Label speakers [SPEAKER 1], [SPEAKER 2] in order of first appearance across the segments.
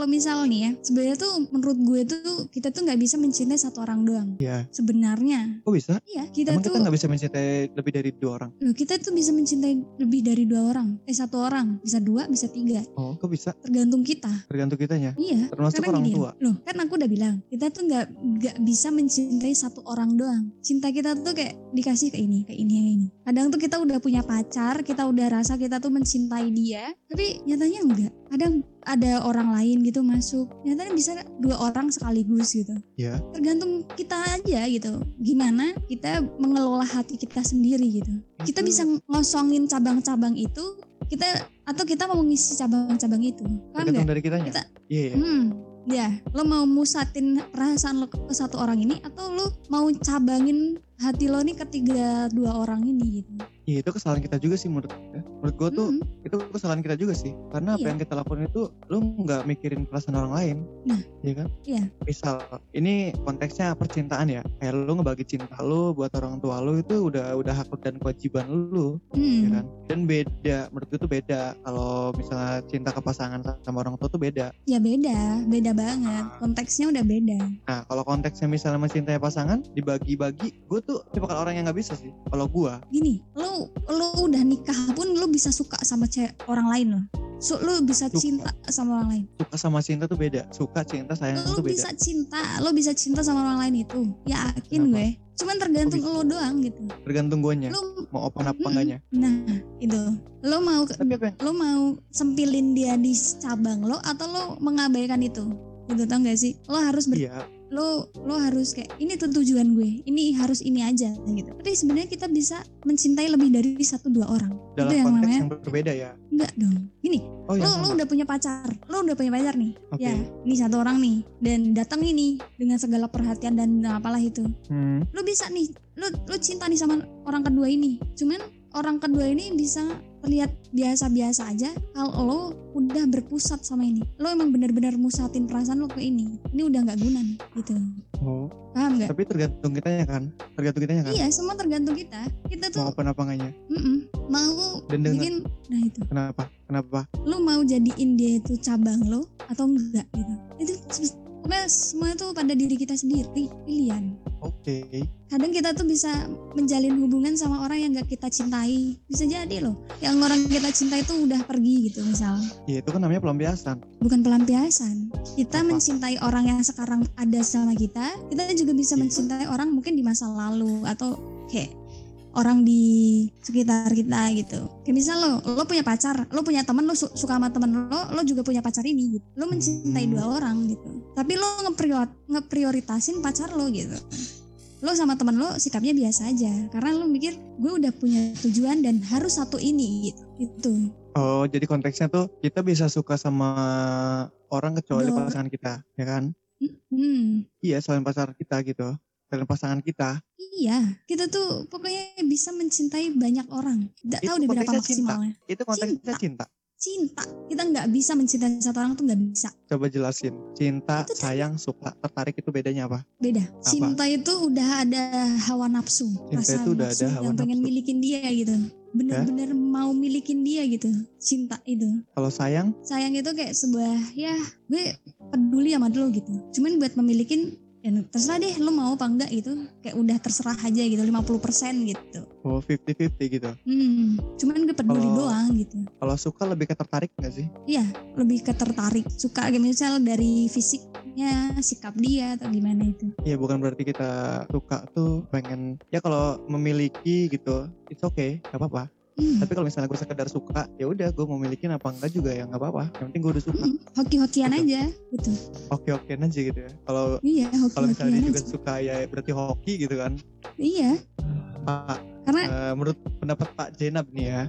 [SPEAKER 1] Kalau misal nih ya, sebenarnya tuh menurut gue tuh kita tuh nggak bisa mencintai satu orang doang.
[SPEAKER 2] Iya.
[SPEAKER 1] Sebenarnya,
[SPEAKER 2] Oh bisa?
[SPEAKER 1] iya kita
[SPEAKER 2] Emang
[SPEAKER 1] tuh
[SPEAKER 2] kita nggak bisa mencintai lebih dari dua orang?
[SPEAKER 1] loh, kita tuh bisa mencintai lebih dari dua orang, eh satu orang, bisa dua, bisa tiga,
[SPEAKER 2] Oh, kok bisa?
[SPEAKER 1] tergantung kita.
[SPEAKER 2] Tergantung kitanya.
[SPEAKER 1] Iya,
[SPEAKER 2] Termasuk
[SPEAKER 1] Karena
[SPEAKER 2] orang
[SPEAKER 1] gini,
[SPEAKER 2] tua.
[SPEAKER 1] Loh, kan aku udah bilang, kita tuh nggak nggak bisa mencintai satu orang doang. Cinta kita tuh kayak dikasih ke ini, ke ini, ke ini. Kadang tuh kita udah punya pacar, kita udah rasa kita tuh mencintai dia, tapi nyatanya enggak. Kadang ada orang lain gitu masuk. Nyatanya bisa dua orang sekaligus gitu.
[SPEAKER 2] Iya.
[SPEAKER 1] Tergantung kita aja gitu. Gimana kita mengelola hati kita sendiri gitu. Kita bisa ngosongin cabang-cabang itu, kita atau kita mau ngisi cabang-cabang itu. Paham nggak?
[SPEAKER 2] Tergantung dari kitanya.
[SPEAKER 1] Kita-
[SPEAKER 2] Iya, iya.
[SPEAKER 1] Hmm, ya, lo mau musatin perasaan lo ke satu orang ini atau lo mau cabangin hati lo nih ketiga dua orang ini gitu.
[SPEAKER 2] Iya, itu kesalahan kita juga sih menurut gue. Menurut gue tuh
[SPEAKER 1] Hmm,
[SPEAKER 2] itu kesalahan kita juga sih. Karena apa
[SPEAKER 1] Iya.
[SPEAKER 2] yang kita lakukan itu lu nggak mikirin perasaan orang lain.
[SPEAKER 1] Nah.
[SPEAKER 2] Iya kan?
[SPEAKER 1] Iya.
[SPEAKER 2] Misal ini konteksnya percintaan ya. Kayak lu ngebagi cinta lu buat orang tua lu itu udah udah hak dan kewajiban lu.
[SPEAKER 1] hmm,
[SPEAKER 2] ya kan dan beda menurut gue tuh beda kalau misalnya cinta ke pasangan sama orang tua tuh beda
[SPEAKER 1] ya beda, beda banget.
[SPEAKER 2] Ah.
[SPEAKER 1] Konteksnya udah beda.
[SPEAKER 2] nah kalau konteksnya misalnya mencintai pasangan dibagi-bagi gue tuh tipe orang yang nggak bisa sih kalau gue
[SPEAKER 1] Gini, lo lo udah nikah pun lo bisa suka sama cewek orang lain lo. So, lo bisa
[SPEAKER 2] Suka.
[SPEAKER 1] cinta sama orang lain.
[SPEAKER 2] suka sama cinta tuh beda suka cinta sayang
[SPEAKER 1] Lo
[SPEAKER 2] tuh beda
[SPEAKER 1] bisa cinta, lo bisa cinta sama orang lain itu. Yakin
[SPEAKER 2] Kenapa? Iya.
[SPEAKER 1] gue. Cuman tergantung
[SPEAKER 2] bisa.
[SPEAKER 1] lo doang gitu.
[SPEAKER 2] tergantung guanya
[SPEAKER 1] Lo
[SPEAKER 2] mau open apa
[SPEAKER 1] Mm-mm.
[SPEAKER 2] enggaknya
[SPEAKER 1] nah, itu. Lo mau ke-
[SPEAKER 2] tapi apa yang
[SPEAKER 1] lo mau sempilin dia di cabang lo atau lo mengabaikan itu gitu tau gak sih lo harus ber
[SPEAKER 2] iya
[SPEAKER 1] lo lo harus kayak ini tuh tujuan gue ini harus ini aja gitu tapi sebenarnya kita bisa mencintai lebih dari satu dua orang
[SPEAKER 2] dalam
[SPEAKER 1] itu yang
[SPEAKER 2] konteks
[SPEAKER 1] namanya
[SPEAKER 2] yang berbeda ya
[SPEAKER 1] enggak dong gini
[SPEAKER 2] oh ya
[SPEAKER 1] lo lo udah punya pacar lo udah punya pacar nih
[SPEAKER 2] oke
[SPEAKER 1] ya ini satu orang nih dan datang ini dengan segala perhatian dan apalah itu
[SPEAKER 2] Hmm,
[SPEAKER 1] lu bisa nih lu lu cinta nih sama orang kedua ini cuman orang kedua ini bisa terlihat biasa-biasa aja kalau lo udah berpusat sama ini lo emang benar-benar musatin perasaan lo ke ini ini udah nggak guna nih gitu
[SPEAKER 2] oh,
[SPEAKER 1] paham nggak
[SPEAKER 2] tapi tergantung kitanya kan tergantung kitanya kan
[SPEAKER 1] Ya. iya semua tergantung kita kita
[SPEAKER 2] mau
[SPEAKER 1] tuh
[SPEAKER 2] open apa enggaknya
[SPEAKER 1] mm-mm, mau
[SPEAKER 2] Dan dengan-
[SPEAKER 1] bikin nah itu
[SPEAKER 2] kenapa kenapa
[SPEAKER 1] lo mau jadiin dia itu cabang lo atau enggak gitu itu se- pokoknya semua itu pada diri kita sendiri pilihan
[SPEAKER 2] oke
[SPEAKER 1] kadang kita tuh bisa menjalin hubungan sama orang yang gak kita cintai bisa jadi loh yang orang kita cintai itu udah pergi gitu misal
[SPEAKER 2] ya itu kan namanya pelampiasan
[SPEAKER 1] bukan pelampiasan kita
[SPEAKER 2] Apa?
[SPEAKER 1] mencintai orang yang sekarang ada sama kita kita juga bisa
[SPEAKER 2] Iya.
[SPEAKER 1] mencintai orang mungkin di masa lalu atau kayak orang di sekitar kita gitu kayak misal lo lo punya pacar lo punya teman lo su- suka sama teman lo lo juga punya pacar ini gitu lo mencintai
[SPEAKER 2] Hmm.
[SPEAKER 1] dua orang gitu tapi lo ngeprior- ngeprioritasin pacar lo gitu lo sama temen lo sikapnya biasa aja karena lo mikir gue udah punya tujuan dan harus satu ini gitu itu
[SPEAKER 2] Oh, jadi konteksnya tuh kita bisa suka sama orang kecuali
[SPEAKER 1] Betul.
[SPEAKER 2] pasangan kita, ya kan?
[SPEAKER 1] hmm.
[SPEAKER 2] Iya, selain pasangan kita gitu. Selain pasangan kita.
[SPEAKER 1] Iya, kita tuh pokoknya bisa mencintai banyak orang. Tidak
[SPEAKER 2] Itu
[SPEAKER 1] tahu deh berapa
[SPEAKER 2] konteksnya cinta.
[SPEAKER 1] maksimalnya.
[SPEAKER 2] Itu konteksnya cinta.
[SPEAKER 1] Cinta, kita nggak bisa mencintai satu orang tuh nggak bisa.
[SPEAKER 2] Coba jelasin. Cinta,
[SPEAKER 1] Itu tadi.
[SPEAKER 2] sayang, suka, tertarik itu bedanya apa?
[SPEAKER 1] Beda. Cinta itu udah ada hawa nafsu,
[SPEAKER 2] Cinta
[SPEAKER 1] rasa
[SPEAKER 2] itu udah
[SPEAKER 1] nafsu
[SPEAKER 2] ada hawa
[SPEAKER 1] yang pengen
[SPEAKER 2] nafsu.
[SPEAKER 1] milikin dia gitu. Bener-bener mau milikin dia gitu. Cinta itu.
[SPEAKER 2] Kalau sayang,
[SPEAKER 1] Sayang itu kayak sebuah ya gue peduli sama lo gitu. Cuman buat memilikin ya terserah deh lo mau apa enggak gitu. Kayak udah terserah aja gitu 50% gitu.
[SPEAKER 2] oh 50-50 gitu.
[SPEAKER 1] Hmm, cuman gue peduli
[SPEAKER 2] Kalau-
[SPEAKER 1] doang gitu.
[SPEAKER 2] Kalau suka lebih ke tertarik nggak sih?
[SPEAKER 1] lebih ketertarik suka kayak misal dari fisiknya sikap dia atau gimana itu
[SPEAKER 2] Iya, bukan berarti kita suka tuh pengen... Ya kalau memiliki gitu, it's okay, gak apa-apa.
[SPEAKER 1] Hmm,
[SPEAKER 2] Tapi kalau misalnya gue sekedar suka, ya udah gue mau milikin apa enggak juga ya nggak apa-apa. Yang penting gue udah suka.
[SPEAKER 1] hmm, hoki-hokian
[SPEAKER 2] Betul.
[SPEAKER 1] aja betul
[SPEAKER 2] Oke-okean aja gitu ya. Kalau
[SPEAKER 1] iya
[SPEAKER 2] kalau
[SPEAKER 1] hoki-hokian
[SPEAKER 2] misalnya dia juga
[SPEAKER 1] aja
[SPEAKER 2] suka ya berarti hoki gitu kan
[SPEAKER 1] iya
[SPEAKER 2] Pak
[SPEAKER 1] karena
[SPEAKER 2] eh, menurut pendapat Pak Jenab nih ya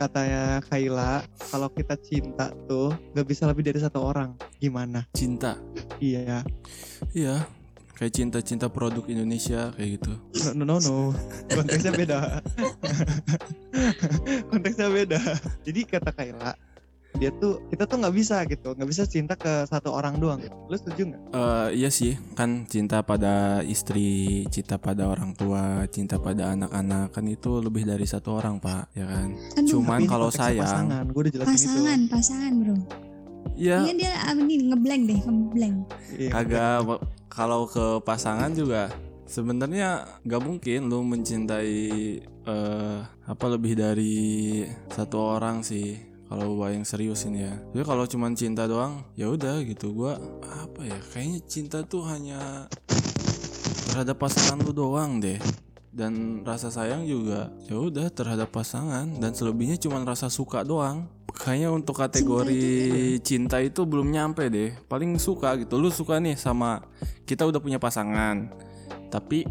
[SPEAKER 2] katanya Kaila kalau kita cinta tuh gak bisa lebih dari satu orang gimana
[SPEAKER 3] cinta
[SPEAKER 2] iya
[SPEAKER 3] iya kayak cinta-cinta produk Indonesia kayak gitu
[SPEAKER 2] no no no, no. konteksnya beda konteksnya beda jadi kata Kaila dia tuh kita tuh nggak bisa gitu nggak bisa cinta ke satu orang doang lu setuju nggak
[SPEAKER 3] Eh, iya sih kan cinta pada istri cinta pada orang tua cinta pada anak-anak kan itu lebih dari satu orang pak ya kan
[SPEAKER 1] aduh
[SPEAKER 3] Cuman
[SPEAKER 2] Tapi ini
[SPEAKER 3] kalau
[SPEAKER 2] konteksnya
[SPEAKER 3] sayang-
[SPEAKER 2] pasangan gue udah jelasin itu
[SPEAKER 1] pasangan pasangan bro
[SPEAKER 3] Ya.
[SPEAKER 1] Iya dia ah, ini ngeblank deh, ngeblank.
[SPEAKER 2] Iya,
[SPEAKER 3] Agak wa- kalau ke pasangan juga sebenarnya nggak mungkin lu mencintai eh apa lebih dari satu orang sih kalau gua yang serius ini ya. Tapi kalau cuman cinta doang, ya udah gitu gua apa ya? Kayaknya cinta tuh hanya terhadap pasangan lu doang deh. Dan rasa sayang juga ya udah terhadap pasangan dan selebihnya cuman rasa suka doang. Kayaknya untuk kategori cinta itu belum nyampe deh paling suka gitu lu suka nih sama kita udah punya pasangan tapi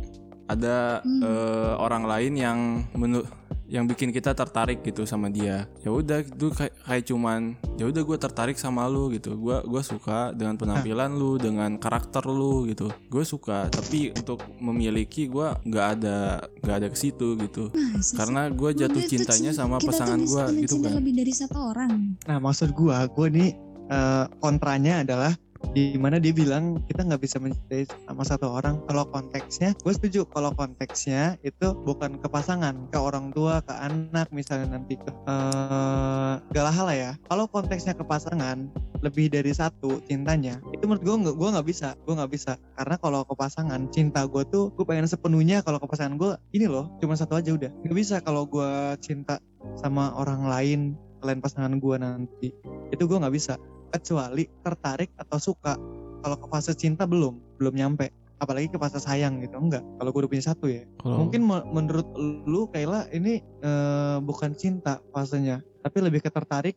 [SPEAKER 3] ada
[SPEAKER 1] Hmm.
[SPEAKER 3] eh, orang lain yang menu yang bikin kita tertarik gitu sama dia ya udah itu kayak, kayak cuman ya udah gue tertarik sama lu gitu gue gua suka dengan penampilan lu dengan karakter lu gitu gue suka tapi untuk memiliki gue nggak ada nggak ada ke situ gitu
[SPEAKER 1] Masa Iya sih?
[SPEAKER 3] karena gue
[SPEAKER 1] Udah
[SPEAKER 3] jatuh
[SPEAKER 1] tuh
[SPEAKER 3] cintanya
[SPEAKER 1] cinta-
[SPEAKER 3] sama
[SPEAKER 1] kita tuh
[SPEAKER 3] pasangan
[SPEAKER 1] bisa
[SPEAKER 3] gue gitu
[SPEAKER 1] mencintai
[SPEAKER 3] kan
[SPEAKER 1] lebih dari satu orang.
[SPEAKER 2] Nah maksud gua, gua nih eh, kontranya adalah di mana dia bilang kita nggak bisa mencintai sama satu orang kalau konteksnya gue setuju kalau konteksnya itu bukan ke pasangan ke orang tua ke anak misalnya nanti ke eh, segala hal lah ya kalau konteksnya ke pasangan lebih dari satu cintanya itu menurut gue nggak gue nggak bisa gue nggak bisa karena kalau ke pasangan cinta gue tuh gue pengen sepenuhnya kalau ke pasangan gue ini loh cuma satu aja udah nggak bisa kalau gue cinta sama orang lain selain pasangan gue nanti itu gue nggak bisa kecuali tertarik atau suka kalau ke fase cinta belum belum nyampe apalagi ke fase sayang gitu enggak kalau gue udah punya satu ya
[SPEAKER 3] Kalau-
[SPEAKER 2] mungkin me- menurut lu Kayla ini eh, bukan cinta fasenya tapi lebih ke tertarik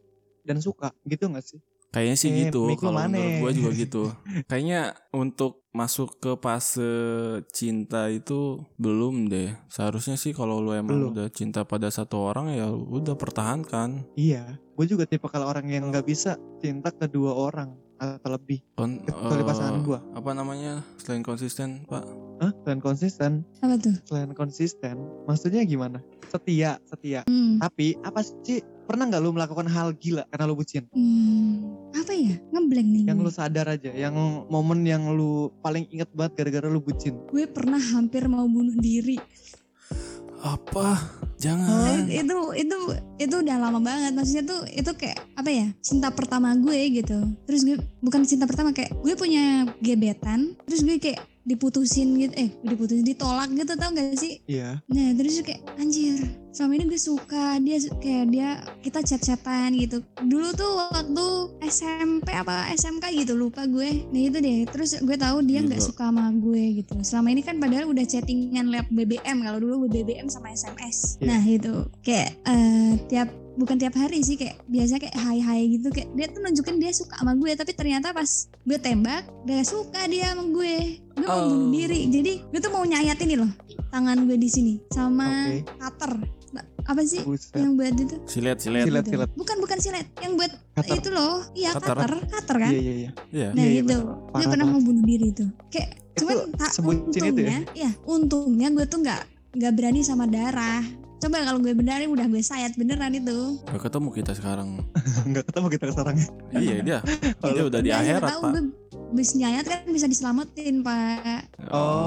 [SPEAKER 2] dan suka gitu nggak sih
[SPEAKER 3] Kayaknya sih
[SPEAKER 2] Eh,
[SPEAKER 3] gitu,
[SPEAKER 2] mic lu
[SPEAKER 3] kalau
[SPEAKER 2] mana?
[SPEAKER 3] menurut gue juga gitu. Kayaknya untuk masuk ke fase cinta itu belum deh. Seharusnya sih kalau lu emang
[SPEAKER 2] Belum.
[SPEAKER 3] udah cinta pada satu orang ya udah pertahankan.
[SPEAKER 2] iya gue juga tipe kalau orang yang nggak bisa cinta kedua orang atau lebih
[SPEAKER 3] Kon-
[SPEAKER 2] kecuali
[SPEAKER 3] eh,
[SPEAKER 2] pasangan gue
[SPEAKER 3] Apa namanya? Selain konsisten, Pak.
[SPEAKER 2] Hah? selain konsisten
[SPEAKER 1] Apa tuh?
[SPEAKER 2] selain konsisten maksudnya gimana setia setia
[SPEAKER 1] Hmm.
[SPEAKER 2] tapi apa sih pernah nggak lu melakukan hal gila karena lu bucin
[SPEAKER 1] hmm, Apa ya? Ngeblank nih.
[SPEAKER 2] yang
[SPEAKER 1] gue.
[SPEAKER 2] lu sadar aja yang momen yang lu paling inget banget gara-gara lu bucin
[SPEAKER 1] Gue pernah hampir mau bunuh diri.
[SPEAKER 3] Apa?
[SPEAKER 1] Eh,
[SPEAKER 3] Jangan.
[SPEAKER 1] itu itu itu udah lama banget maksudnya tuh itu kayak apa ya cinta pertama gue gitu terus gue bukan cinta pertama kayak gue punya gebetan terus gue kayak diputusin gitu eh diputusin ditolak gitu tau gak sih
[SPEAKER 2] iya
[SPEAKER 1] nah terus gue kayak anjir selama ini gue suka dia su- kayak dia kita chat-chatan gitu dulu tuh waktu SMP apa SMK gitu lupa gue nah itu deh terus gue tahu dia nggak
[SPEAKER 3] Gila.
[SPEAKER 1] suka sama gue gitu selama ini kan padahal udah chattingan lewat BBM kalau dulu BBM sama SMS
[SPEAKER 2] Iya.
[SPEAKER 1] nah itu kayak eh, tiap bukan tiap hari sih kayak biasa kayak hai hai gitu kayak dia tuh nunjukin dia suka sama gue tapi ternyata pas gue tembak dia suka dia sama gue gue mau
[SPEAKER 3] Oh.
[SPEAKER 1] bunuh diri jadi gue tuh mau nyayat ini loh tangan gue di sini sama
[SPEAKER 2] oke
[SPEAKER 1] cutter Ba- apa sih
[SPEAKER 2] buset
[SPEAKER 1] yang buat itu
[SPEAKER 3] Silet, silet.
[SPEAKER 2] Silet.
[SPEAKER 1] Gitu. bukan bukan silet yang buat
[SPEAKER 2] Cutter.
[SPEAKER 1] itu loh iya
[SPEAKER 3] Cutter.
[SPEAKER 1] cutter cutter kan
[SPEAKER 2] iya iya iya
[SPEAKER 3] Iya.
[SPEAKER 1] Nah
[SPEAKER 2] Iya, iya,
[SPEAKER 1] gitu,
[SPEAKER 2] bener.
[SPEAKER 1] gue
[SPEAKER 2] Parah
[SPEAKER 1] pernah
[SPEAKER 2] banget.
[SPEAKER 1] mau bunuh diri tuh. Kayak
[SPEAKER 2] Itu
[SPEAKER 1] cuman tak
[SPEAKER 2] sebutin
[SPEAKER 1] untungnya,
[SPEAKER 2] itu ya?
[SPEAKER 1] iya, untungnya gue tuh nggak nggak berani sama darah. Coba kalau gue benerin udah gue sayat beneran itu.
[SPEAKER 3] Nggak ketemu kita sekarang.
[SPEAKER 2] nggak ketemu kita sekarang
[SPEAKER 3] iya, dia. Dia udah di
[SPEAKER 1] Biar nggak
[SPEAKER 3] akhirat,
[SPEAKER 1] tahu
[SPEAKER 3] Pak.
[SPEAKER 1] Gue bisa nyayat kan bisa diselamatin pak.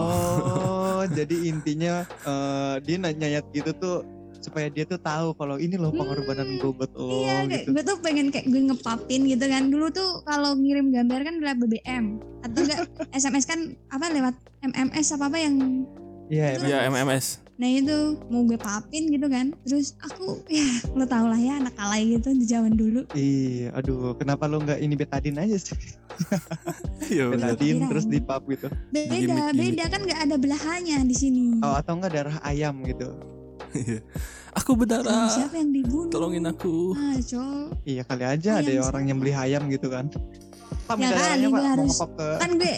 [SPEAKER 2] oh jadi intinya eh, dia na- nyayat gitu tuh supaya dia tuh tahu kalau ini loh pengorbanan
[SPEAKER 1] Hmm,
[SPEAKER 2] gue buat lo
[SPEAKER 1] iya, kayak
[SPEAKER 2] gitu
[SPEAKER 1] gue tuh pengen kayak gue ngepapin gitu kan. Dulu tuh kalau ngirim gambar kan lewat BBM atau enggak SMS kan apa lewat MMS apa apa yang
[SPEAKER 2] iya
[SPEAKER 1] Itu-
[SPEAKER 2] emang.
[SPEAKER 3] Iya, MMS.
[SPEAKER 1] Nah itu mau gue papin gitu kan Terus aku ya lo tau lah ya anak alay gitu di zaman dulu
[SPEAKER 2] iya aduh kenapa lu nggak ini betadin aja sih
[SPEAKER 3] Iya, bener.
[SPEAKER 2] betadin
[SPEAKER 1] Kirain.
[SPEAKER 2] terus dipap gitu
[SPEAKER 1] Beda,
[SPEAKER 3] Gimik-gimik.
[SPEAKER 1] beda kan gak ada belahannya di sini
[SPEAKER 2] Oh, atau enggak darah ayam gitu
[SPEAKER 3] Iya. Aku
[SPEAKER 1] Aduh,
[SPEAKER 3] berdarah.
[SPEAKER 1] Siapa yang dibunuh?
[SPEAKER 3] Tolongin aku.
[SPEAKER 1] Ah cowok
[SPEAKER 2] iya kali aja
[SPEAKER 3] Oh,
[SPEAKER 2] ada
[SPEAKER 1] Ayam
[SPEAKER 2] orang yang beli ayam gitu kan
[SPEAKER 3] Iya
[SPEAKER 2] Pak,
[SPEAKER 1] Ya
[SPEAKER 2] minta
[SPEAKER 3] kan,
[SPEAKER 1] kali,
[SPEAKER 2] darahnya,
[SPEAKER 1] gue
[SPEAKER 2] Pak. Mau
[SPEAKER 1] harus-
[SPEAKER 2] ngepop ke
[SPEAKER 1] Kan gue,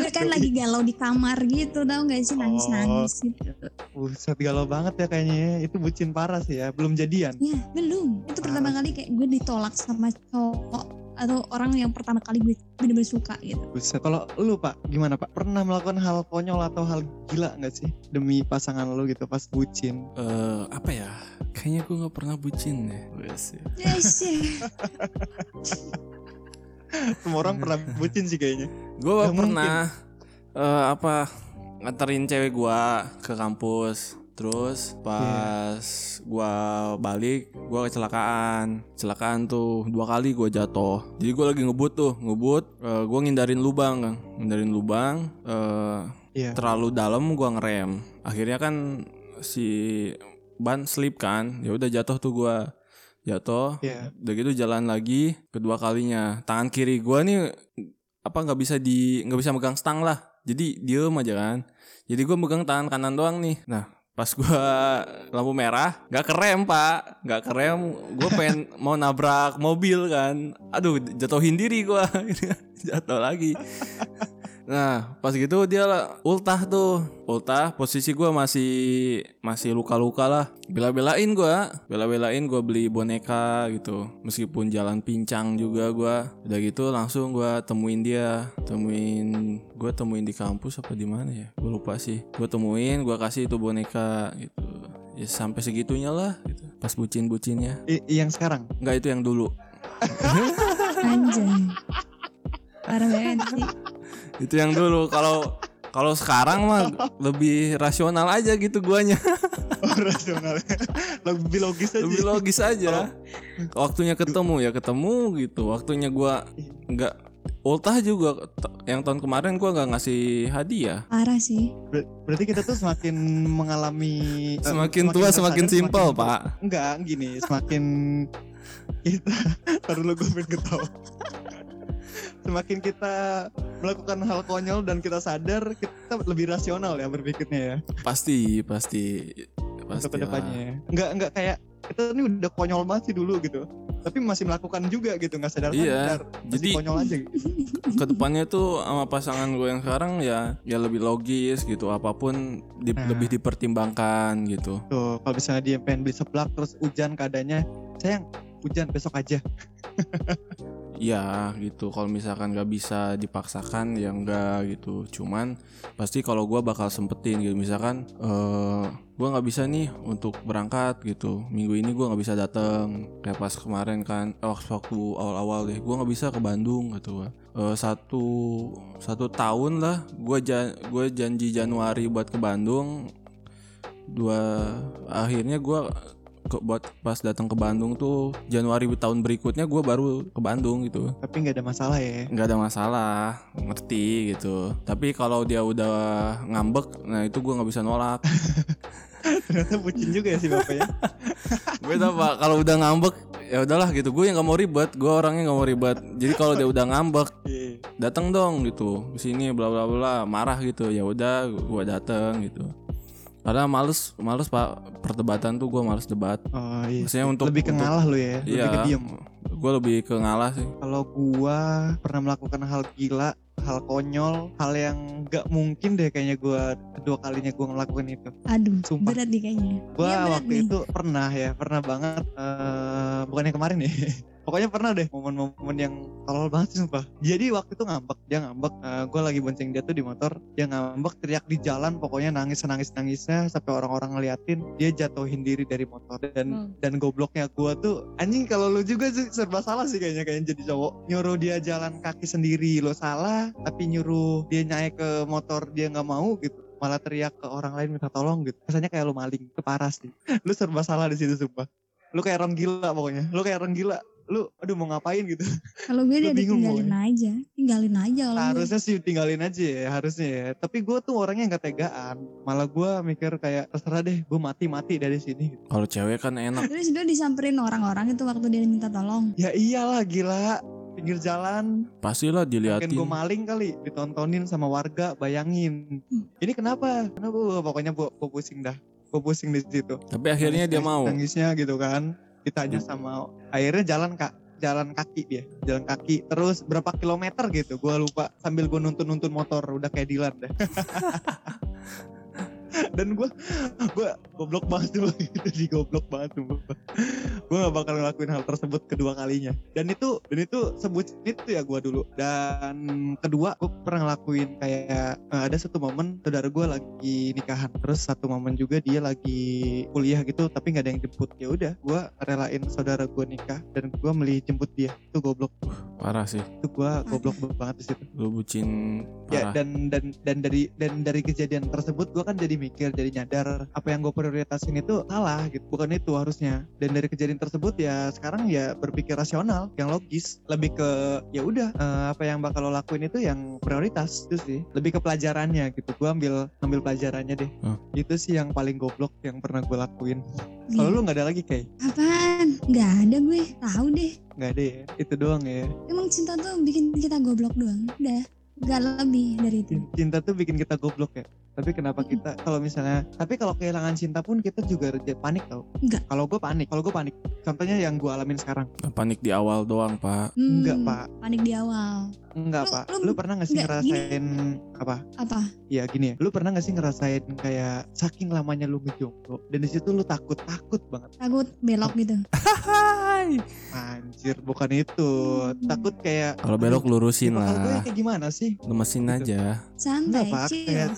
[SPEAKER 1] gue kan lagi galau di kamar gitu tau gak sih
[SPEAKER 2] Oh.
[SPEAKER 1] nangis-nangis gitu
[SPEAKER 2] Buset galau banget ya kayaknya ya. Itu bucin parah sih ya Belum jadian
[SPEAKER 1] Ya belum Itu pertama kali kayak gue ditolak sama cowok atau orang yang pertama kali gue bener-bener suka gitu
[SPEAKER 2] Buset Kalau lu pak gimana pak Pernah melakukan hal konyol atau hal gila gak sih Demi pasangan lu gitu pas bucin
[SPEAKER 3] eh apa ya? Kayaknya gue nggak pernah bucin deh.
[SPEAKER 2] Iya
[SPEAKER 3] Wes, ya.
[SPEAKER 1] yes, ya.
[SPEAKER 2] Semua orang pernah bucin sih kayaknya
[SPEAKER 3] Gue
[SPEAKER 2] Nggak mungkin.
[SPEAKER 3] pernah eh apa nganterin cewek gua ke kampus. Terus pas gua balik, gua kecelakaan. Kecelakaan tuh dua kali gua jatuh. Jadi gua lagi ngebut tuh, ngebut. eh, gua ngindarin lubang, Kang. Ngindarin lubang. eh,
[SPEAKER 2] Iya.
[SPEAKER 3] Terlalu dalam gua ngerem. Akhirnya kan si ban slip kan. Ya udah jatuh tuh gua. Jatuh.
[SPEAKER 2] Iya.
[SPEAKER 3] Udah gitu jalan lagi kedua kalinya. Tangan kiri gua nih apa nggak bisa di nggak bisa megang stang lah. Jadi diem aja kan. Jadi gua megang tangan kanan doang nih. Nah, pas gua lampu merah nggak kerem pak nggak kerem gue pengen mau nabrak mobil kan aduh jatuhin diri gua Akhirnya jatuh lagi nah pas gitu dia lah- ultah tuh ultah posisi gua masih masih luka-luka lah bela-belain gua bela-belain gua beli boneka gitu meskipun jalan pincang juga gua udah gitu langsung gua temuin dia temuin gua temuin di kampus apa di mana ya gue lupa sih gue temuin gua kasih itu boneka gitu ya sampai segitunya lah gitu. pas bucin-bucinnya
[SPEAKER 2] I- yang sekarang.
[SPEAKER 3] nggak itu yang dulu
[SPEAKER 1] Anjay. Parah ya. banget sih.
[SPEAKER 3] itu yang dulu kalau kalau sekarang mah lebih rasional aja gitu guanya
[SPEAKER 2] Oh, rasional. Lebih logis aja.
[SPEAKER 3] lebih logis aja waktunya ketemu ya ketemu gitu waktunya gua nggak ultah juga T- yang tahun kemarin gua nggak ngasih hadiah
[SPEAKER 1] Parah sih.
[SPEAKER 2] Ber- berarti kita tuh semakin mengalami eh,
[SPEAKER 3] semakin tua semakin
[SPEAKER 2] tersadar,
[SPEAKER 3] simpel
[SPEAKER 2] semakin-
[SPEAKER 3] pak
[SPEAKER 2] Enggak, gini, semakin kita taruh lu gue pengen ketawa. semakin kita melakukan hal konyol dan kita sadar, kita lebih rasional ya berpikirnya ya
[SPEAKER 3] pasti pasti pasti
[SPEAKER 2] untuk kedepannya. Enggak, enggak kayak kita ini udah konyol banget sih dulu gitu, tapi masih melakukan juga gitu nggak sadar
[SPEAKER 3] Iya,
[SPEAKER 2] sadar masih
[SPEAKER 3] jadi
[SPEAKER 2] konyol aja. gitu.
[SPEAKER 3] kedepannya tuh sama pasangan gue yang sekarang ya ya lebih logis gitu apapun di-
[SPEAKER 2] Nah.
[SPEAKER 3] lebih dipertimbangkan gitu
[SPEAKER 2] Tuh, kalau misalnya dia pengen beli seblak terus hujan keadaannya, sayang hujan besok aja.
[SPEAKER 3] Iya gitu kalau misalkan nggak bisa dipaksakan ya enggak gitu cuman pasti kalau gua bakal sempetin gitu misalkan eh gue nggak bisa nih untuk berangkat gitu minggu ini gua nggak bisa datang kayak pas kemarin kan eh, waktu waktu awal-awal deh gua nggak bisa ke Bandung gitu gua. Eh, satu satu tahun lah gue gue janji Januari buat ke Bandung dua akhirnya gua ke- buat pas datang ke Bandung tuh Januari tahun berikutnya gua baru ke Bandung gitu
[SPEAKER 2] Tapi nggak ada masalah ya.
[SPEAKER 3] nggak ada masalah ngerti gitu tapi kalau dia udah ngambek nah itu gua nggak bisa nolak
[SPEAKER 2] Ternyata bucin juga ya si bapak ya.
[SPEAKER 3] gue tau pak kalau udah ngambek ya udahlah gitu gue yang nggak mau ribet gue orangnya nggak mau ribet jadi kalau dia udah ngambek
[SPEAKER 2] Iya.
[SPEAKER 3] datang dong gitu kesini bla bla bla marah gitu ya udah gua datang gitu karena males males pak perdebatan tuh gua males debat
[SPEAKER 2] Oh iya.
[SPEAKER 3] maksudnya untuk
[SPEAKER 2] lebih ke
[SPEAKER 3] untuk-
[SPEAKER 2] ngalah lu ya, lebih ke
[SPEAKER 3] Iya,
[SPEAKER 2] diem.
[SPEAKER 3] gue lebih ke ngalah sih.
[SPEAKER 2] Kalau gua pernah melakukan hal gila, hal konyol, hal yang nggak mungkin deh kayaknya gua kedua kalinya gua melakukan itu.
[SPEAKER 1] Aduh,
[SPEAKER 2] Sumpah.
[SPEAKER 1] berat nih kayaknya.
[SPEAKER 2] Gua
[SPEAKER 1] Iya, berat
[SPEAKER 2] waktu
[SPEAKER 1] nih.
[SPEAKER 2] itu pernah ya, pernah banget. eh bukan yang kemarin nih. Pokoknya pernah deh momen-momen yang tolol banget sih sumpah. Jadi waktu itu ngambek, dia ngambek. Eh, gua lagi bonceng dia tuh di motor, dia ngambek teriak di jalan, pokoknya nangis nangis nangisnya sampai orang-orang ngeliatin. Dia jatuhin diri dari motor dan
[SPEAKER 1] Oh.
[SPEAKER 2] dan gobloknya gua tuh anjing kalau lu juga sih serba salah sih kayaknya kayaknya jadi cowok nyuruh dia jalan kaki sendiri lo salah tapi nyuruh dia naik ke motor dia nggak mau gitu malah teriak ke orang lain minta tolong gitu kesannya kayak lu maling itu parah sih lu serba salah di situ sumpah lu kayak orang gila pokoknya lu kayak orang gila lu aduh mau ngapain gitu
[SPEAKER 1] Kalau gue
[SPEAKER 2] Lu
[SPEAKER 1] udah
[SPEAKER 2] bingung
[SPEAKER 1] tinggalin aja, tinggalin aja kalau gue.
[SPEAKER 2] harusnya sih tinggalin aja ya harusnya ya tapi gua tuh orangnya nggak tegaan malah gua mikir kayak terserah deh gua mati mati dari sini gitu.
[SPEAKER 3] Kalau cewek kan enak.
[SPEAKER 1] Terus dia disamperin orang-orang itu waktu dia minta tolong.
[SPEAKER 2] ya iyalah gila pinggir jalan
[SPEAKER 3] Pastilah
[SPEAKER 2] Mungkin gue
[SPEAKER 3] diliatin.
[SPEAKER 2] maling kali ditontonin sama warga, bayangin.
[SPEAKER 1] Hmm.
[SPEAKER 2] Ini kenapa? Kenapa? Wah, Pokoknya gue pusing dah. Gue pusing di situ.
[SPEAKER 3] Tapi akhirnya dia mau. Gitu.
[SPEAKER 2] Nangisnya gitu kan. Ditanya sama akhirnya jalan Kak, jalan kaki dia, jalan kaki terus berapa kilometer gitu. Gua lupa sambil gue nuntun-nuntun motor udah kayak Dilan dah. Dan gue gue goblok banget tuh jadi goblok banget tuh gue gak bakal ngelakuin hal tersebut kedua kalinya dan itu dan itu sebut itu ya gue dulu dan kedua gue pernah ngelakuin kayak eh, ada satu momen saudara gue lagi nikahan terus satu momen juga dia lagi kuliah gitu tapi nggak ada yang jemput ya udah gue relain saudara gue nikah dan gue milih jemput dia itu goblok
[SPEAKER 3] Parah sih.
[SPEAKER 2] itu gue goblok banget di situ
[SPEAKER 3] Lu bucin
[SPEAKER 2] ya
[SPEAKER 3] parah.
[SPEAKER 2] dan dan dan dari dan dari kejadian tersebut gue kan jadi mikir jadi nyadar apa yang gue prioritasin itu salah gitu bukan itu harusnya dan dari kejadian tersebut ya sekarang ya berpikir rasional yang logis lebih ke ya udah eh, apa yang bakal lo lakuin itu yang prioritas itu sih lebih ke pelajarannya gitu gue ambil ambil pelajarannya deh
[SPEAKER 3] Hmm.
[SPEAKER 2] itu sih yang paling goblok yang pernah gue lakuin
[SPEAKER 1] Iya.
[SPEAKER 2] kalau lu nggak ada lagi kayak
[SPEAKER 1] Apaan? Nggak ada gue. Tahu deh.
[SPEAKER 2] nggak ada ya itu doang ya
[SPEAKER 1] Emang cinta tuh bikin kita goblok doang. Udah. Gak lebih dari itu.
[SPEAKER 2] Cin- cinta tuh bikin kita goblok ya tapi kenapa
[SPEAKER 1] Mm-mm.
[SPEAKER 2] kita kalau misalnya tapi kalau kehilangan cinta pun kita juga reja- panik tau
[SPEAKER 1] Enggak.
[SPEAKER 2] kalau gue panik kalau gue panik contohnya yang gue alamin sekarang
[SPEAKER 3] Nah, panik di awal doang pak
[SPEAKER 1] Hmm,
[SPEAKER 2] Enggak, Pak.
[SPEAKER 1] Panik di awal.
[SPEAKER 2] enggak
[SPEAKER 1] Lu-
[SPEAKER 2] pak
[SPEAKER 1] lu-
[SPEAKER 2] lu pernah nggak sih
[SPEAKER 1] enggak, gini.
[SPEAKER 2] ngerasain apa
[SPEAKER 1] Apa?
[SPEAKER 2] ya gini ya lu pernah nggak sih ngerasain kayak saking lamanya lu ngejomblo dan di situ lu takut takut banget
[SPEAKER 1] Takut belok gitu.
[SPEAKER 3] Hai
[SPEAKER 2] anjir bukan itu
[SPEAKER 1] Hmm.
[SPEAKER 2] takut kayak
[SPEAKER 3] kalau belok lurusin
[SPEAKER 2] tipikal gue
[SPEAKER 3] lah
[SPEAKER 2] kayak gimana sih ya.
[SPEAKER 3] lemesin
[SPEAKER 2] Gitu.
[SPEAKER 3] aja
[SPEAKER 1] Santai,
[SPEAKER 2] Enggak, Pak.
[SPEAKER 1] chill.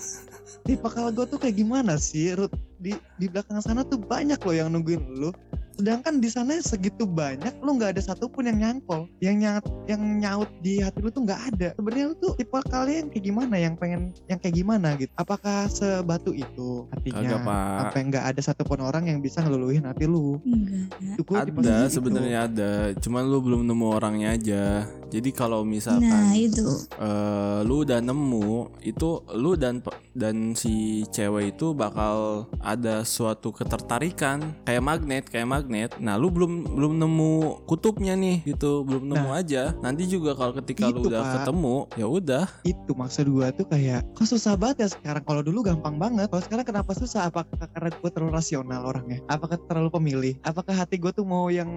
[SPEAKER 2] tipikal gue tuh kayak gimana sih Ruth? di di belakang sana tuh banyak loh yang nungguin lu sedangkan di sana segitu banyak lu nggak ada satupun yang nyangkol yang nyaut yang nyaut di hati lu tuh nggak ada sebenarnya lu tuh tipe kalian kayak gimana yang pengen yang kayak gimana gitu apakah sebatu itu
[SPEAKER 3] agak
[SPEAKER 2] hatinya
[SPEAKER 3] pak
[SPEAKER 2] apa yang nggak ada satupun orang yang bisa ngeluluhin hati lu
[SPEAKER 1] Enggak.
[SPEAKER 2] Itu gua gitu. di posisi
[SPEAKER 3] ada
[SPEAKER 2] itu.
[SPEAKER 3] sebenarnya ada cuman lu belum nemu orangnya aja jadi kalau misalkan
[SPEAKER 1] Nah, itu.
[SPEAKER 3] eh, lu udah nemu itu lu dan pe- dan si cewek itu bakal ada suatu ketertarikan kayak magnet kayak magnet nah lu belum belum nemu kutubnya nih gitu belum nemu aja nanti juga kalau ketika lu
[SPEAKER 2] Itu, Nah. Gitu,
[SPEAKER 3] udah
[SPEAKER 2] Pak.
[SPEAKER 3] ketemu ya udah
[SPEAKER 2] itu maksud gua tuh kayak kok susah banget ya sekarang kalau dulu gampang banget kalau sekarang kenapa susah apakah karena gue terlalu rasional orangnya apakah terlalu pemilih apakah hati gue tuh mau yang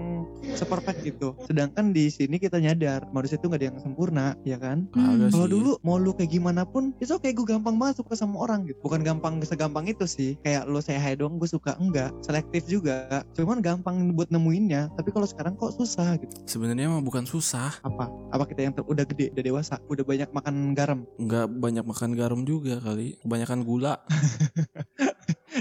[SPEAKER 2] seperfect itu sedangkan di sini kita nyadar manusia tuh nggak ada yang sempurna ya kan
[SPEAKER 3] Kagak
[SPEAKER 2] kalau
[SPEAKER 3] sih.
[SPEAKER 2] dulu mau lu kayak gimana pun itu oke gue gampang banget suka sama orang gitu bukan gampang segampang itu sih kayak lu saya hai doang gue suka enggak selektif juga cuman gampang buat nemuinnya tapi kalau sekarang kok susah gitu
[SPEAKER 3] sebenarnya mah bukan susah
[SPEAKER 2] apa apa kita yang ter- udah gede udah dewasa udah banyak makan garam
[SPEAKER 3] nggak banyak makan garam juga kali kebanyakan gula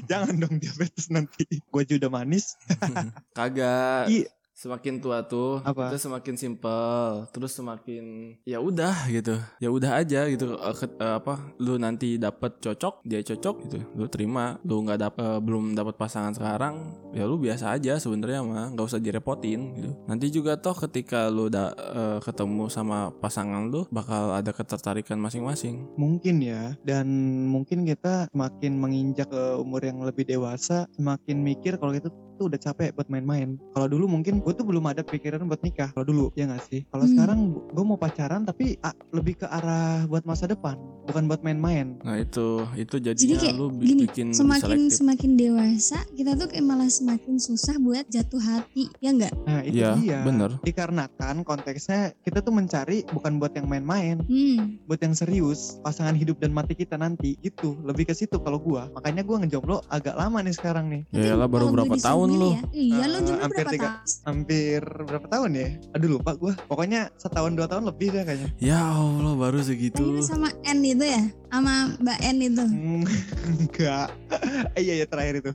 [SPEAKER 2] Jangan dong diabetes nanti. Gue juga udah manis.
[SPEAKER 3] kagak
[SPEAKER 2] Iya.
[SPEAKER 3] semakin tua tuh
[SPEAKER 2] Apa?
[SPEAKER 3] itu semakin simpel terus semakin ya udah gitu ya udah aja gitu Eh, ke- eh, apa lu nanti dapet cocok dia cocok gitu lu terima lu nggak dap eh, belum dapat pasangan sekarang ya lu biasa aja sebenarnya mah nggak usah direpotin gitu nanti juga toh ketika lu udah eh, ketemu sama pasangan lu bakal ada ketertarikan masing-masing
[SPEAKER 2] Mungkin ya. Dan mungkin kita semakin menginjak ke umur yang lebih dewasa, semakin mikir kalau kita tuh udah capek buat main-main. Kalau dulu mungkin gue tuh belum ada pikiran buat nikah. Kalau dulu ya nggak sih. Kalau
[SPEAKER 1] Hmm.
[SPEAKER 2] sekarang gue mau pacaran tapi ah, lebih ke arah buat masa depan, bukan buat main-main.
[SPEAKER 3] nah itu itu
[SPEAKER 1] Jadi
[SPEAKER 3] jadinya
[SPEAKER 1] kayak
[SPEAKER 3] lu bi-
[SPEAKER 1] gini,
[SPEAKER 3] bikin
[SPEAKER 1] semakin
[SPEAKER 3] selektif
[SPEAKER 1] semakin dewasa, kita tuh kayak malah semakin susah buat jatuh hati, ya enggak?
[SPEAKER 2] Nah itu
[SPEAKER 3] Iya,
[SPEAKER 2] dia.
[SPEAKER 3] bener.
[SPEAKER 2] Dikarenakan konteksnya kita tuh mencari bukan buat yang main-main,
[SPEAKER 1] Hmm.
[SPEAKER 2] buat yang serius pasangan hidup dan mati kita nanti gitu lebih ke situ kalau gua makanya gua ngejomblo agak lama nih sekarang nih
[SPEAKER 3] ya lah
[SPEAKER 1] Kalau
[SPEAKER 3] baru
[SPEAKER 1] gue
[SPEAKER 3] berapa
[SPEAKER 1] disuruh
[SPEAKER 3] tahun
[SPEAKER 1] milih
[SPEAKER 3] lu
[SPEAKER 1] Ya. Iya, lu
[SPEAKER 2] Eh,
[SPEAKER 1] jomblo
[SPEAKER 2] hampir
[SPEAKER 1] berapa
[SPEAKER 2] tiga.
[SPEAKER 1] tahun?
[SPEAKER 2] hampir berapa tahun ya aduh lupa gua pokoknya setahun dua tahun lebih deh kayaknya
[SPEAKER 3] ya allah baru
[SPEAKER 1] Kayaknya
[SPEAKER 3] segitu
[SPEAKER 1] sama N itu ya, sama Mbak N itu.
[SPEAKER 2] Hmm, enggak Eh, iya ya terakhir itu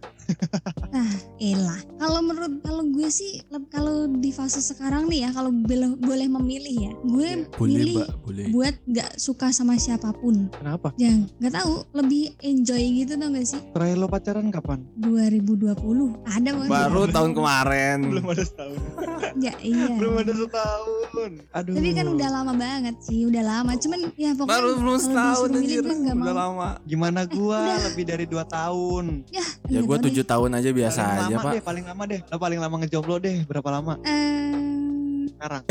[SPEAKER 1] Elah. Kalau menurut kalau gue sih leb- kalau di fase sekarang nih ya, kalau bel- boleh memilih ya, gue
[SPEAKER 3] boleh
[SPEAKER 1] milih
[SPEAKER 3] mbak boleh
[SPEAKER 1] buat nggak suka sama siapapun.
[SPEAKER 2] kenapa
[SPEAKER 1] Jangan, Ya, nggak tahu, lebih enjoy gitu tau gak sih?
[SPEAKER 2] terakhir lo pacaran kapan
[SPEAKER 1] 2020 ada waktu
[SPEAKER 3] baru
[SPEAKER 2] Iya.
[SPEAKER 3] tahun kemarin
[SPEAKER 2] belum ada setahun
[SPEAKER 1] ya iya.
[SPEAKER 2] belum ada setahun aduh
[SPEAKER 1] Tapi kan udah lama banget sih, udah lama. Cuman ya pokoknya
[SPEAKER 3] baru belum
[SPEAKER 1] kalau
[SPEAKER 3] setahun
[SPEAKER 1] disuruh milih
[SPEAKER 3] anjir
[SPEAKER 1] gue kan nggak
[SPEAKER 3] udah
[SPEAKER 1] mau.
[SPEAKER 3] lama
[SPEAKER 2] gimana gua
[SPEAKER 1] eh, udah.
[SPEAKER 2] lebih dari dua tahun
[SPEAKER 3] ya
[SPEAKER 1] Nggak
[SPEAKER 3] gue
[SPEAKER 1] tahu deh.
[SPEAKER 3] tujuh tahun aja biasa
[SPEAKER 2] paling
[SPEAKER 3] aja
[SPEAKER 2] lama
[SPEAKER 3] pak
[SPEAKER 2] deh paling lama deh lo paling lama ngejomblo deh berapa lama
[SPEAKER 1] Eh,
[SPEAKER 2] sekarang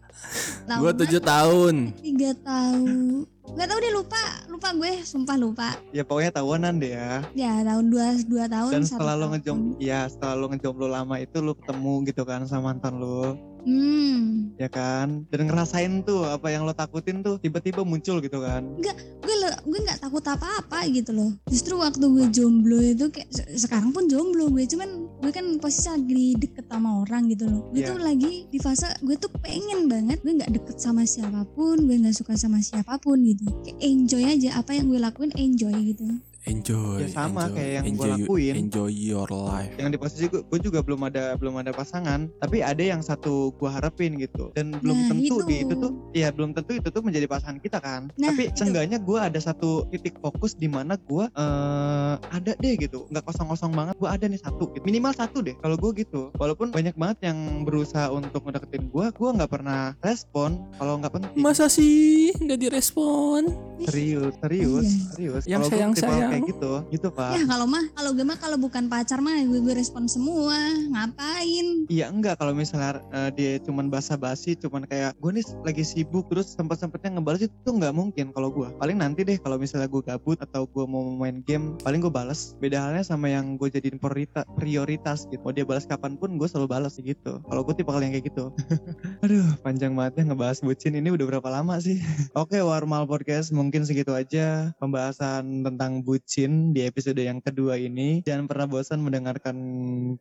[SPEAKER 1] lama
[SPEAKER 3] gue tujuh tahun
[SPEAKER 1] tiga tahun nggak tahu deh lupa lupa gue sumpah lupa
[SPEAKER 2] ya pokoknya tahunan deh ya
[SPEAKER 1] ya tahun dua dua tahun
[SPEAKER 2] dan
[SPEAKER 1] satu
[SPEAKER 2] setelah lo
[SPEAKER 1] tahun.
[SPEAKER 2] ngejomblo ya setelah lo ngejomblo lama itu lo ketemu gitu kan sama mantan lo
[SPEAKER 1] hmm
[SPEAKER 2] ya kan dan ngerasain tuh apa yang lo takutin tuh tiba-tiba muncul gitu kan
[SPEAKER 1] gue le- gue nggak takut apa apa gitu loh justru waktu gue jomblo itu kayak se- sekarang pun jomblo gue cuman gue kan posisi lagi deket sama orang gitu loh gue
[SPEAKER 2] Iya.
[SPEAKER 1] tuh lagi di fase gue tuh pengen banget gue nggak deket sama siapapun gue nggak suka sama siapapun gitu kayak enjoy aja apa yang gue lakuin enjoy gitu
[SPEAKER 3] enjoy
[SPEAKER 2] Ya, sama
[SPEAKER 3] enjoy,
[SPEAKER 2] kayak yang gua
[SPEAKER 3] enjoy,
[SPEAKER 2] lakuin.
[SPEAKER 3] enjoy your life
[SPEAKER 2] yang di posisi gue, gue juga belum ada belum ada pasangan tapi ada yang satu gue harapin gitu dan belum
[SPEAKER 1] Nah,
[SPEAKER 2] tentu
[SPEAKER 1] itu.
[SPEAKER 2] di itu tuh ya belum tentu itu tuh menjadi pasangan kita kan
[SPEAKER 1] Nah,
[SPEAKER 2] tapi
[SPEAKER 1] itu.
[SPEAKER 2] seenggaknya gue ada satu titik fokus di mana gue eh, ada deh gitu nggak kosong kosong banget gue ada nih satu gitu. minimal satu deh kalau gue gitu walaupun banyak banget yang berusaha untuk ngedeketin gue gue nggak pernah respon kalau nggak penting
[SPEAKER 3] masa sih nggak direspon
[SPEAKER 2] serius serius
[SPEAKER 1] Iya.
[SPEAKER 2] serius Kalau
[SPEAKER 3] Yang
[SPEAKER 2] gua tipe orang
[SPEAKER 3] sayang-sayang.
[SPEAKER 2] kayak gitu gitu pak
[SPEAKER 1] Ya kalau mah kalau gue mah kalau bukan pacar mah gue, gue respon semua ngapain
[SPEAKER 2] Iya enggak kalau misalnya eh, dia cuman basa-basi cuman kayak gue nih lagi sibuk terus sempat-sempatnya ngebales itu tuh nggak mungkin kalau gue paling nanti deh kalau misalnya gue gabut atau gue mau main game paling gue balas beda halnya sama yang gue jadiin priorita- prioritas gitu mau dia balas kapanpun gue selalu balas gitu kalau gue tipe yang kayak gitu aduh panjang banget ya ngebahas bucin ini udah berapa lama sih oke Warmal Podcast mungkin segitu aja pembahasan tentang bucin di episode yang kedua ini jangan pernah bosan mendengarkan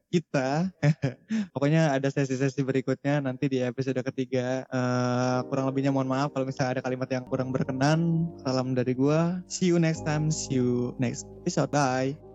[SPEAKER 2] kita Pokoknya ada sesi-sesi berikutnya nanti di episode ketiga. Eh, kurang lebihnya mohon maaf kalau misalnya ada kalimat yang kurang berkenan. Salam dari gua. See you next time. See you next episode. Bye.